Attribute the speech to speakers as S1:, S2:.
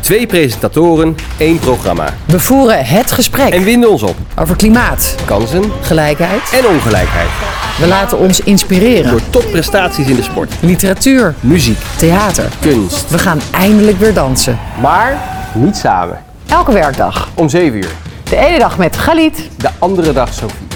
S1: Twee presentatoren, één programma.
S2: We voeren het gesprek
S1: En winden ons op.
S2: over klimaat,
S1: Kansen
S2: gelijkheid.
S1: en ongelijkheid.
S2: We laten ons inspireren.
S1: Door topprestaties in de sport,
S2: Literatuur,
S1: muziek,
S2: theater.
S1: kunst.
S2: We gaan eindelijk weer dansen.
S1: Maar niet samen.
S2: Elke werkdag.
S1: Om 7 uur.
S2: De ene dag met Galit.
S1: De andere dag Sophie.